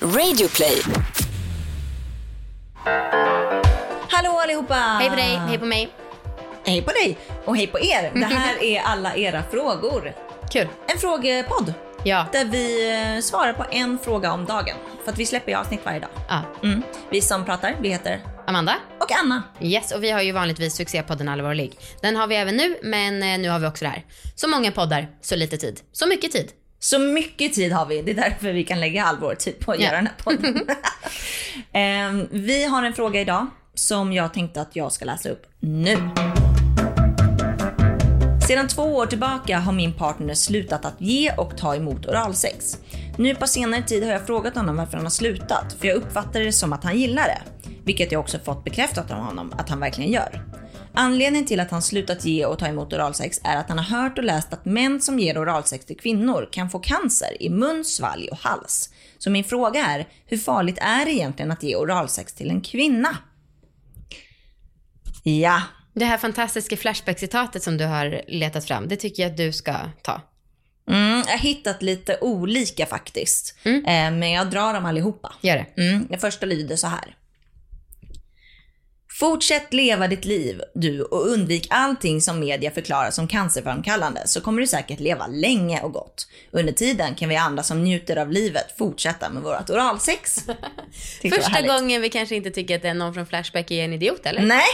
Radioplay. Hallå allihopa! Hej på dig, hej på mig. Hej på dig! Och hej på er! Det här är alla era frågor. Kul. En frågepodd Ja. där vi eh, svarar på en fråga om dagen. För att vi släpper ju avsnitt varje dag. ja. Mm. Vi som pratar, vi heter... Amanda? Och Anna. Yes, och vi har ju vanligtvis succépodden Allvarlig. Den har vi även nu, men eh, nu har vi också det här. Så många poddar, så lite tid. Så mycket tid. Så mycket tid har vi. Det är därför vi kan lägga all vår tid på att Ja. göra den här podden. Ehm, vi har en fråga idag som jag tänkte att jag ska läsa upp nu. Sedan två år tillbaka har min partner slutat att ge och ta emot oralsex. Nu på senare tid har jag frågat honom varför han har slutat, för jag uppfattar det som att han gillar det. Vilket jag också fått bekräftat av honom att han verkligen gör. Anledningen till att han slutat ge och ta emot oralsex är att han har hört och läst att män som ger oralsex till kvinnor kan få cancer i mun, svalg och hals. Så min fråga är, hur farligt är det egentligen att ge oralsex till en kvinna? Ja, Det här fantastiska Flashback-citatet som du har letat fram, det tycker jag att du ska ta. Mm, jag har hittat lite olika faktiskt. Eh, men jag drar dem allihopa. Gör det. Mm, den första lyder så här. Fortsätt leva ditt liv du och undvik allting som media förklarar som cancerframkallande så kommer du säkert leva länge och gott. Under tiden kan vi andra som njuter av livet fortsätta med vårt oralsex. Tyckte det var Första härligt. gången vi kanske inte tycker att det är någon från Flashback är en idiot, eller? Nej.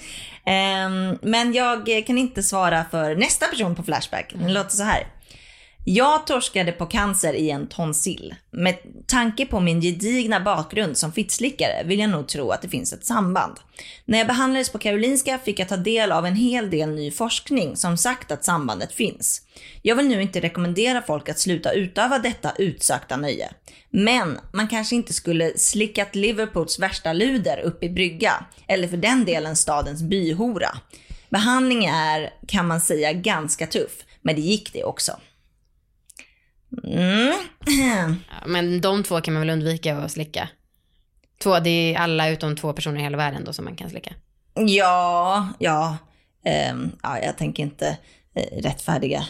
Ehm, men jag kan inte svara för nästa person på Flashback. Den låter så här. Jag torskade på cancer i en tonsill. Med tanke på min gedigna bakgrund som fittslickare vill jag nog tro att det finns ett samband. När jag behandlades på Karolinska fick jag ta del av en hel del ny forskning som sagt att sambandet finns. Jag vill nu inte rekommendera folk att sluta utöva detta utsökta nöje. Men man kanske inte skulle slickat Liverpools värsta luder upp i brygga, eller för den delen stadens byhora. Behandling är, kan man säga, ganska tuff, men det gick det också. Mm. Ja, Men de två kan man väl undvika att slicka? Två, det är alla utom två personer i hela världen då som man kan slicka. Ja, ja. Ehm, ja, jag tänker inte eh, rättfärdiga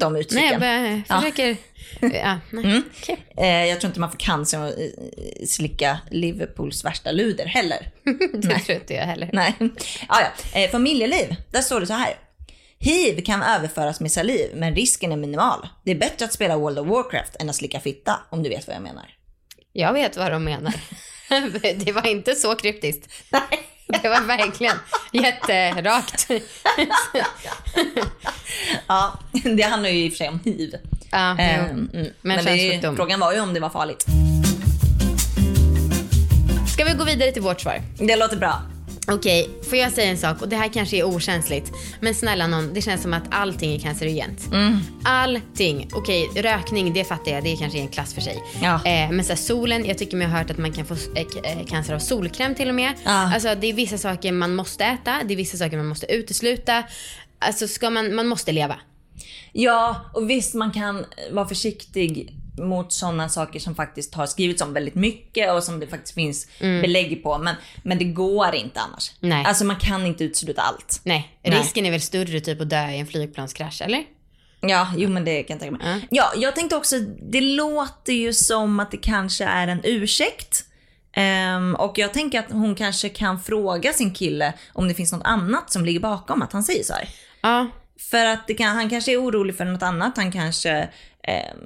de Nej, uttrycken. jag bara försöker... Ja. Mm. nej. Okej. Eh, jag tror inte man får cancer av att eh, slicka Liverpools värsta luder heller. Det tror inte jag heller. Nej. Ah, ja. eh, familjeliv, där står det så här. Hiv kan överföras med saliv, men risken är minimal. Det är bättre att spela World of Warcraft än att slicka fitta, om du vet vad jag menar. Jag vet vad de menar. Det var inte så kryptiskt. Det var verkligen jätterakt. Ja, det handlar ju i och för sig om hiv. Ja, Eh, jo. mm. Men det är ju, könssjukdom. frågan var ju om det var farligt. Ska vi gå vidare till vårt svar? Det låter bra. Okej, får jag säga en sak? Och det här kanske är okänsligt. Men snälla någon, det känns som att allting är cancerogent. Allting. Okej, rökning, det fattar jag. Det är kanske en klass för sig. Ja. Eh, men så här, solen, jag tycker mig ha hört att man kan få eh, k- eh, cancer av solkräm till och med. Ja. Alltså det är vissa saker man måste äta. Det är vissa saker man måste utesluta. Alltså ska man, man måste leva. Ja, och visst man kan eh, vara försiktig mot sådana saker som faktiskt har skrivits om väldigt mycket och som det faktiskt finns belägg på. Men, men det går inte annars. Mm. Nej. Alltså man kan inte utesluta allt. Nej, Nej. risken är väl större typ att dö i en flygplanskrasch, eller? Ja, jo men det kan jag tänka mig. Mm. Ja, jag tänkte också, det låter ju som att det kanske är en ursäkt. Ehm, och jag tänker att hon kanske kan fråga sin kille om det finns något annat som ligger bakom att han säger så här. Ja. För att det kan, han kanske är orolig för något annat. Han kanske, ehm,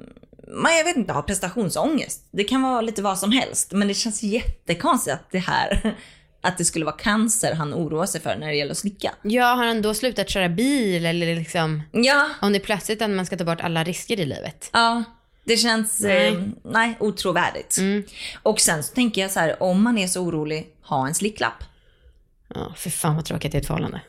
man, jag vet inte, har prestationsångest. Det kan vara lite vad som helst. Men det känns jättekonstigt att det här, att det skulle vara cancer han oroar sig för när det gäller att slicka. Ja, har han då slutat köra bil eller liksom? Ja, Om det är plötsligt att man ska ta bort alla risker i livet. Ja, det känns nej. Nej. Mm. Eh, nej, otrovärdigt. Och sen så tänker jag så här, om man är så orolig, ha en slicklapp. Ja, för fan vad tråkigt det är ett förhållande.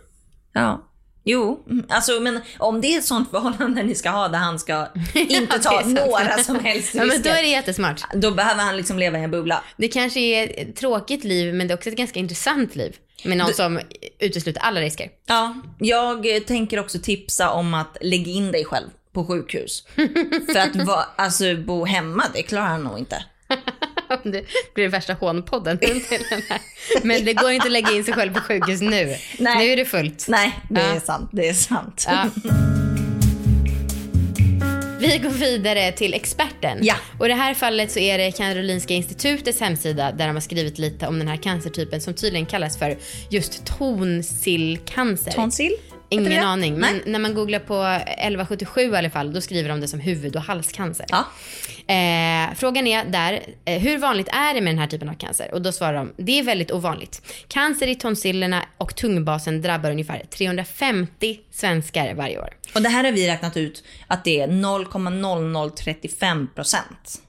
Ja. Jo, mm, alltså men om det är ett sånt förhållande ni ska ha där han ska inte det ta är sant. några som helst Ja, men då är risker, det jättesmart. då behöver han liksom leva i en bubbla. Det kanske är ett tråkigt liv, men det är också ett ganska intressant liv. Med någon som utesluter alla risker. Ja, jag eh, tänker också tipsa om att lägga in dig själv på sjukhus. För att va, alltså, bo hemma, det klarar han nog inte. Det blir den värsta hånpodden. Men det går inte att lägga in sig själv på sjukhus nu. Nej. Nu är det fullt. Nej, det Ja. är sant. Det är sant. Ja. Vi går vidare till experten. Ja. Och i det här fallet så är det Karolinska institutets hemsida där de har skrivit lite om den här cancertypen som tydligen kallas för just tonsillcancer. Tonsill? Heter Ingen det? aning, Nej. men när man googlar på 1177 i alla fall, då skriver de det som huvud och halscancer. Ja. Eh, frågan är där, eh, hur vanligt är det med den här typen av cancer? Och då svarar de, det är väldigt ovanligt. Cancer i tonsillerna och tungbasen drabbar ungefär 350 svenskar varje år. Och det här har vi räknat ut att det är 0,0035 procent.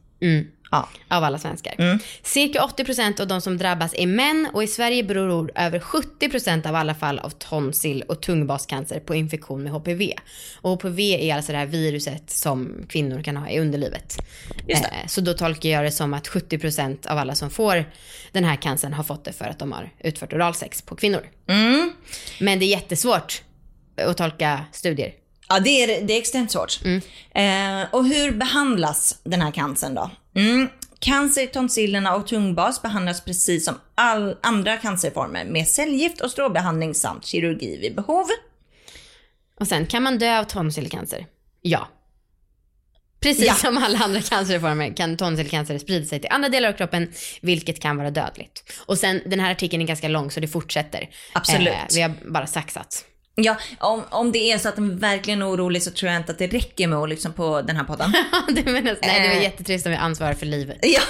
Ja. av alla svenskar. Mm. Cirka 80% av de som drabbas är män och i Sverige beror över 70% av alla fall av tonsill och tungbascancer på infektion med HPV. Och HPV är alltså det här viruset som kvinnor kan ha i underlivet. Just det. Eh, Så då tolkar jag det som att 70% av alla som får den här cancern har fått det för att de har utfört oralsex på kvinnor. Mm. Men det är jättesvårt att tolka studier. Ja, det är, det är extremt svårt. Eh, och hur behandlas den här cancern då? Mm. Cancer i tonsillerna och tungbas behandlas precis som all andra cancerformer med cellgift och strålbehandling samt kirurgi vid behov. Och sen, kan man dö av tonsillcancer? Ja. Precis Ja. som alla andra cancerformer kan tonsillcancer sprida sig till andra delar av kroppen, vilket kan vara dödligt. Och sen, den här artikeln är ganska lång så det fortsätter. Eh, Absolut. vi har bara saxat. Ja, om, om det är så att de verkligen är orolig så tror jag inte att det räcker med att lyssna på den här podden. du menar, nej, det var Eh. jättetrist om vi ansvarar för livet. ja,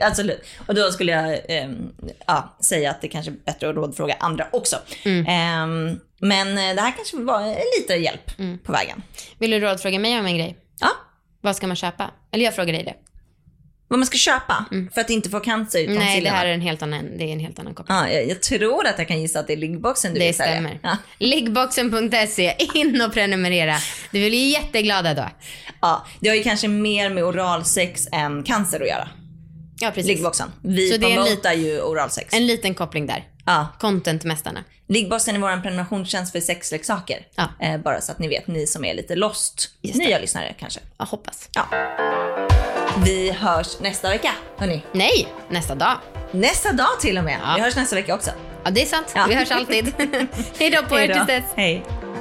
absolut. Och då skulle jag ehm, ja, säga att det kanske är bättre att rådfråga andra också. Mm. Ehm, men eh, det här kanske var eh, lite hjälp Mm. på vägen. Vill du rådfråga mig om en grej? Ja, Vad ska man köpa? Eller jag frågar dig det. vad man ska köpa för att inte få cancer i Mm. Nej, det tonsillerna. här är en helt annan, det är en helt annan koppling. Ja, jag, jag tror att jag kan gissa att det är liggboxen du Det vill sälja. stämmer. Ja. Liggboxen.se, in och prenumerera. Du blir ju jätteglada då. ja, det har ju kanske mer med oralsex än cancer att göra. Ja, precis. Liggboxen. Vi Så det är en promotar ju oralsex. En liten koppling där. Ja. Contentmästarna. Liggboxen är vår prenumerationstjänst för sexleksaker. Ja. Eh, bara så att ni vet, ni som är lite lost. Just det. Nya lyssnare kanske. Jag hoppas. Ja. Vi hörs nästa vecka, hörni. Nej, nästa dag. Nästa dag till och med. Ja. Vi hörs nästa vecka också. Ja, det är sant. Ja. Vi hörs alltid. Hej då på er tills dess. Hej.